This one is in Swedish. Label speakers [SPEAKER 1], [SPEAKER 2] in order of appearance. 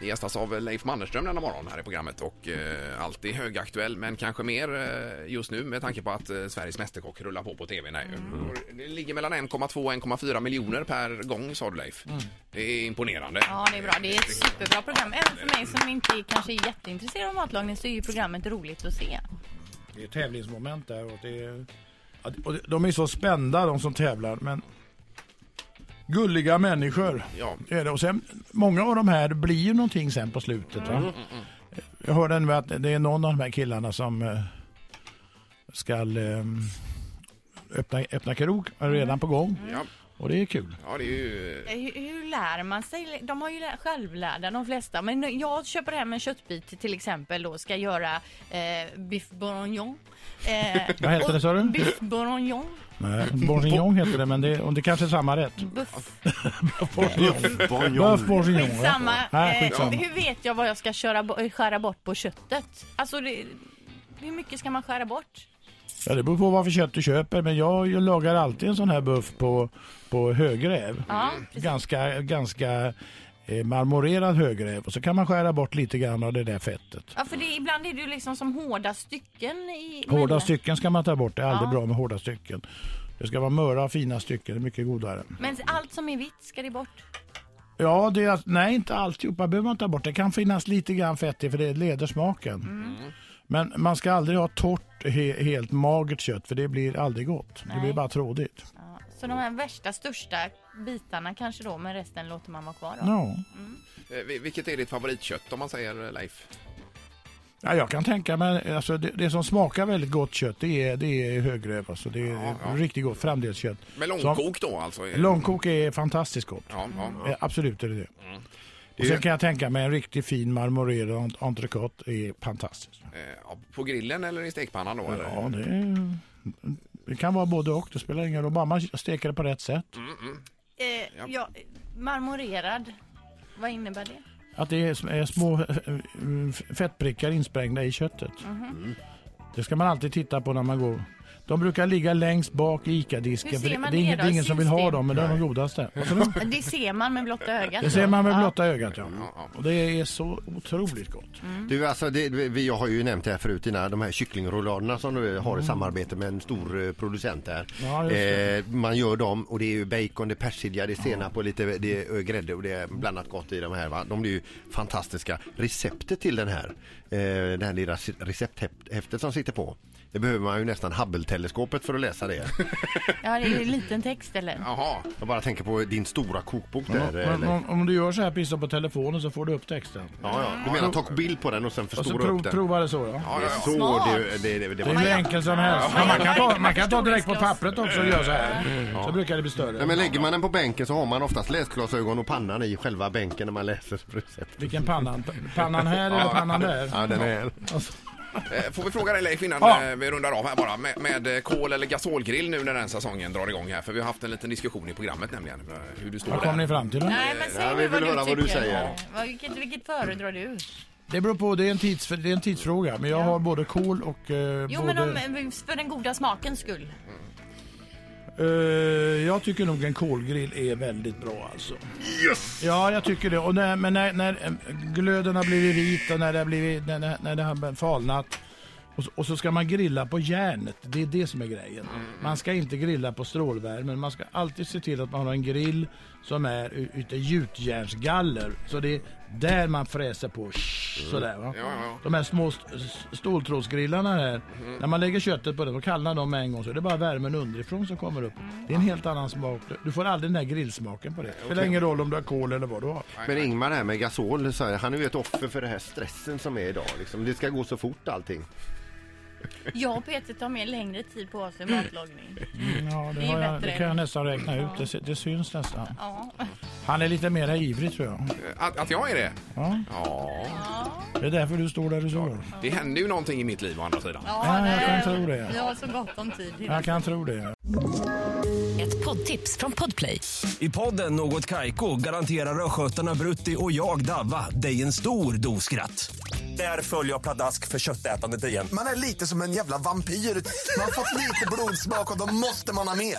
[SPEAKER 1] Vi gästas av Leif Mannerström denna morgon här i programmet och eh, alltid högaktuell men kanske mer eh, just nu med tanke på att eh, Sveriges Mästerkock rullar på på tvn här ju. Och Det ligger mellan 1,2 och 1,4 miljoner per gång sa du Leif. Det är imponerande.
[SPEAKER 2] Ja, det är bra. Det är ett superbra program. Även för mig som inte är- kanske är jätteintresserad av matlagning så är ju programmet roligt att se.
[SPEAKER 3] Det är tävlingsmoment där och det är... ja, Och det- de är så spända de som tävlar men gulliga människor
[SPEAKER 1] Ja.
[SPEAKER 3] är det. Och sen, många av de här blir någonting sen på slutet. Va? Jag hörde nu att det är någon av de här killarna som eh, ska eh, öppna, öppna krog, är redan på gång.
[SPEAKER 1] Ja.
[SPEAKER 3] Och det är kul.
[SPEAKER 1] ja, det är ju... eh,
[SPEAKER 2] Hur, Eh, hur lär man sig? De har ju lä- självlärda de flesta. Men jag köper hem en köttbit till exempel då ska göra eh, biff bourguignon. Eh,
[SPEAKER 3] Vad heter
[SPEAKER 2] och-
[SPEAKER 3] det, sa du?
[SPEAKER 2] Biff bourguignon.
[SPEAKER 3] Nej, Mm. bourguignon heter det men det, och det kanske är samma rätt.
[SPEAKER 2] Buff.
[SPEAKER 3] Bœuf bourguignon. ja.
[SPEAKER 2] Skitsamma.
[SPEAKER 3] Nej,
[SPEAKER 2] Eh,
[SPEAKER 3] skitsamma.
[SPEAKER 2] hur vet jag vad jag ska köra, bo- eh, skära bort på köttet? Alltså, det, hur mycket ska man skära bort?
[SPEAKER 3] Ja, det beror på vad för kött du köper, men jag ju lagar alltid en sån här buff på, på högräv.
[SPEAKER 2] Ja, precis.
[SPEAKER 3] Ganska, ganska eh, marmorerad högräv. Och så kan man skära bort lite grann av det där fettet.
[SPEAKER 2] Ja, för det, ibland är det ju liksom som hårda stycken i...
[SPEAKER 3] Hårda
[SPEAKER 2] men-
[SPEAKER 3] stycken ska man ta bort, det är aldrig
[SPEAKER 2] Ja.
[SPEAKER 3] bra med hårda stycken. Det ska vara möra och fina stycken, det är mycket godare.
[SPEAKER 2] Men allt som är vitt ska det bort.
[SPEAKER 3] Ja, det är, nej inte alltihopa behöver man ta bort. Det kan finnas lite grann fett i för det leder smaken.
[SPEAKER 2] Mm.
[SPEAKER 3] Men man ska aldrig ha torrt, he, helt magert kött för det blir aldrig gott. Det blir
[SPEAKER 2] Nej.
[SPEAKER 3] bara trådigt.
[SPEAKER 2] Ja, så de här värsta, största bitarna kanske då, men resten låter man vara kvar då.
[SPEAKER 3] Ja.
[SPEAKER 1] eh, vil- Vilket är ditt favoritkött om man säger eh, Leif?
[SPEAKER 3] Ja, jag kan tänka mig, alltså det, det som smakar väldigt gott kött det är, det är högräv. Alltså det är
[SPEAKER 1] ja.
[SPEAKER 3] riktigt gott framdelskött.
[SPEAKER 1] Med långkok då alltså? eh,
[SPEAKER 3] Långkok är fantastiskt gott.
[SPEAKER 1] Ja, ja. Mm.
[SPEAKER 3] Eh, Absolut är det det. Och sen kan jag tänka mig en riktigt fin marmorerad ent- entrecote är fantastiskt.
[SPEAKER 1] Eh, ja, På grillen eller i stekpannan då? Eller?
[SPEAKER 3] Ja, det, är, det kan vara både och. Det spelar ingen roll, bara man steker det på rätt sätt.
[SPEAKER 2] Eh, ja. marmorerad, vad innebär det?
[SPEAKER 3] Att det är sm- är små eh, f- fettprickar insprängda i köttet.
[SPEAKER 2] Mhm.
[SPEAKER 4] Mm.
[SPEAKER 3] Det ska man alltid titta på när man går. De brukar ligga längst bak i
[SPEAKER 2] Hur
[SPEAKER 3] ICA-disken.
[SPEAKER 2] ser
[SPEAKER 3] för Det,
[SPEAKER 2] man
[SPEAKER 3] det är
[SPEAKER 2] det
[SPEAKER 3] ingen,
[SPEAKER 2] då?
[SPEAKER 3] det är ingen som vill ha
[SPEAKER 2] Syns det?
[SPEAKER 3] dem, men de är de godaste. Vad sa du?
[SPEAKER 2] Det ser man med blotta ögat.
[SPEAKER 3] Det ser man med
[SPEAKER 2] Ja.
[SPEAKER 3] blotta ögat, ja.
[SPEAKER 1] ja.
[SPEAKER 3] Och det är så otroligt gott.
[SPEAKER 4] Du, alltså, det, vi, jag har ju nämnt det här förut, dina, de här kycklingrulladerna som du har i samarbete med en stor eh, producent här.
[SPEAKER 3] Mm. Ja, just det.
[SPEAKER 4] Eh, man gör dem och det är ju bacon, det är persilja, det är senap och lite det är eh, grädde och det är blandat gott i de här. Va? De blir ju fantastiska. Receptet till den här, eh, det här lilla se- recepthäftet som sitter på, det behöver man ju nästan Hubble-teleskopet för att läsa det.
[SPEAKER 2] Ja, det är en liten text eller?
[SPEAKER 1] Jaha,
[SPEAKER 4] Jag bara tänker på din stora kokbok där.
[SPEAKER 3] Ja, men
[SPEAKER 4] eller?
[SPEAKER 3] om, om du gör så här precis på telefonen så får du upp texten.
[SPEAKER 4] Ja, ja. Du menar ta bild på den och sen
[SPEAKER 3] Och så
[SPEAKER 4] förstora
[SPEAKER 3] prov,
[SPEAKER 4] upp den?
[SPEAKER 3] prova det så, ja.
[SPEAKER 4] Det är så
[SPEAKER 2] Smart.
[SPEAKER 4] det, det, det, det
[SPEAKER 3] Det är
[SPEAKER 4] var
[SPEAKER 3] hur enkelt som helst. Men man, kan ta, man kan ta direkt på pappret också och göra så här. Så brukar det bli
[SPEAKER 4] Nej,
[SPEAKER 3] större.
[SPEAKER 4] men lägger man den på bänken så har man oftast läsglasögon och pannan i själva bänken när man läser receptet.
[SPEAKER 3] Vilken pannan? Pannan här eller pannan där?
[SPEAKER 4] Ja, den är...
[SPEAKER 1] Eh, Får vi fråga dig Leif innan
[SPEAKER 3] Ja.
[SPEAKER 1] eh, vi rundar av här bara med, med eh, kol eller gasolgrill nu när den här säsongen drar igång här för vi har haft en liten diskussion i programmet nämligen eh, hur du står
[SPEAKER 3] Vad kom ni
[SPEAKER 1] där.
[SPEAKER 3] fram till? Då?
[SPEAKER 2] Nej, men säg
[SPEAKER 4] Ja, vi
[SPEAKER 2] nu vad
[SPEAKER 4] vill
[SPEAKER 2] du
[SPEAKER 4] höra
[SPEAKER 2] tycker.
[SPEAKER 4] vad du säger.
[SPEAKER 2] Vad- Vilket, vilket föredrar du?
[SPEAKER 3] Det beror på, det är en, tids, det är en tidsfråga. Men jag har både kol och... Eh,
[SPEAKER 2] Jo,
[SPEAKER 3] både,
[SPEAKER 2] men om, för den goda smakens skull.
[SPEAKER 3] eh, jag tycker nog en kolgrill är väldigt bra alltså. Yes! Ja, jag tycker det. Och när, men när, när eh, glöden har blivit vit och när det har, blivit, när, när, när det har falnat. Och så, och så ska man grilla på järnet. Det är det som är grejen. Man ska inte grilla på strålvärmen. Man ska alltid se till att man har en grill som är u- ute i gjutjärnsgaller. Så det är där man fräser på. Sådär va.
[SPEAKER 1] Mm. Ja, ja. Mm.
[SPEAKER 3] De här små st- s- ståltrådsgrillarna här. När man lägger köttet på det och kallnar dem med en gång så är det bara värmen underifrån som kommer upp. Det är en helt annan smak. Du- Du får aldrig den där grillsmaken på det. Det spelar ingen roll om du har kol eller vad du har.
[SPEAKER 4] Men Ingmar här med gasol, så här, han är ju ett offer för den här stressen som är idag. Liksom. Det ska gå så fort allting.
[SPEAKER 2] Jag och Peter tar mer längre tid på oss i matlagning.
[SPEAKER 3] Mm. Ja, det,
[SPEAKER 2] är
[SPEAKER 3] har jag,
[SPEAKER 2] bättre.
[SPEAKER 3] det kan jag nästan räkna ut. Det, sy- det syns nästan.
[SPEAKER 2] Ja.
[SPEAKER 3] Han är lite mer ivrig tror jag.
[SPEAKER 1] Eh, Att, att jag är det?
[SPEAKER 3] Ja.
[SPEAKER 1] Ja.
[SPEAKER 3] Det är därför du står där du står.
[SPEAKER 1] Det händer ju någonting i mitt liv å andra sidan.
[SPEAKER 3] Ja, jag
[SPEAKER 2] nej,
[SPEAKER 3] kan tro det.
[SPEAKER 2] Vi har så gott om tid.
[SPEAKER 3] Jag kan tro det.
[SPEAKER 5] Ett poddtips från Podplay.
[SPEAKER 6] I podden Något Kaiko garanterar östgötarna Brutti och jag, Davva, dig en stor dos skratt. Där följer jag pladask för köttätandet igen.
[SPEAKER 7] Man är lite som en jävla vampyr. Man har fått lite blodsmak och då måste man ha mer.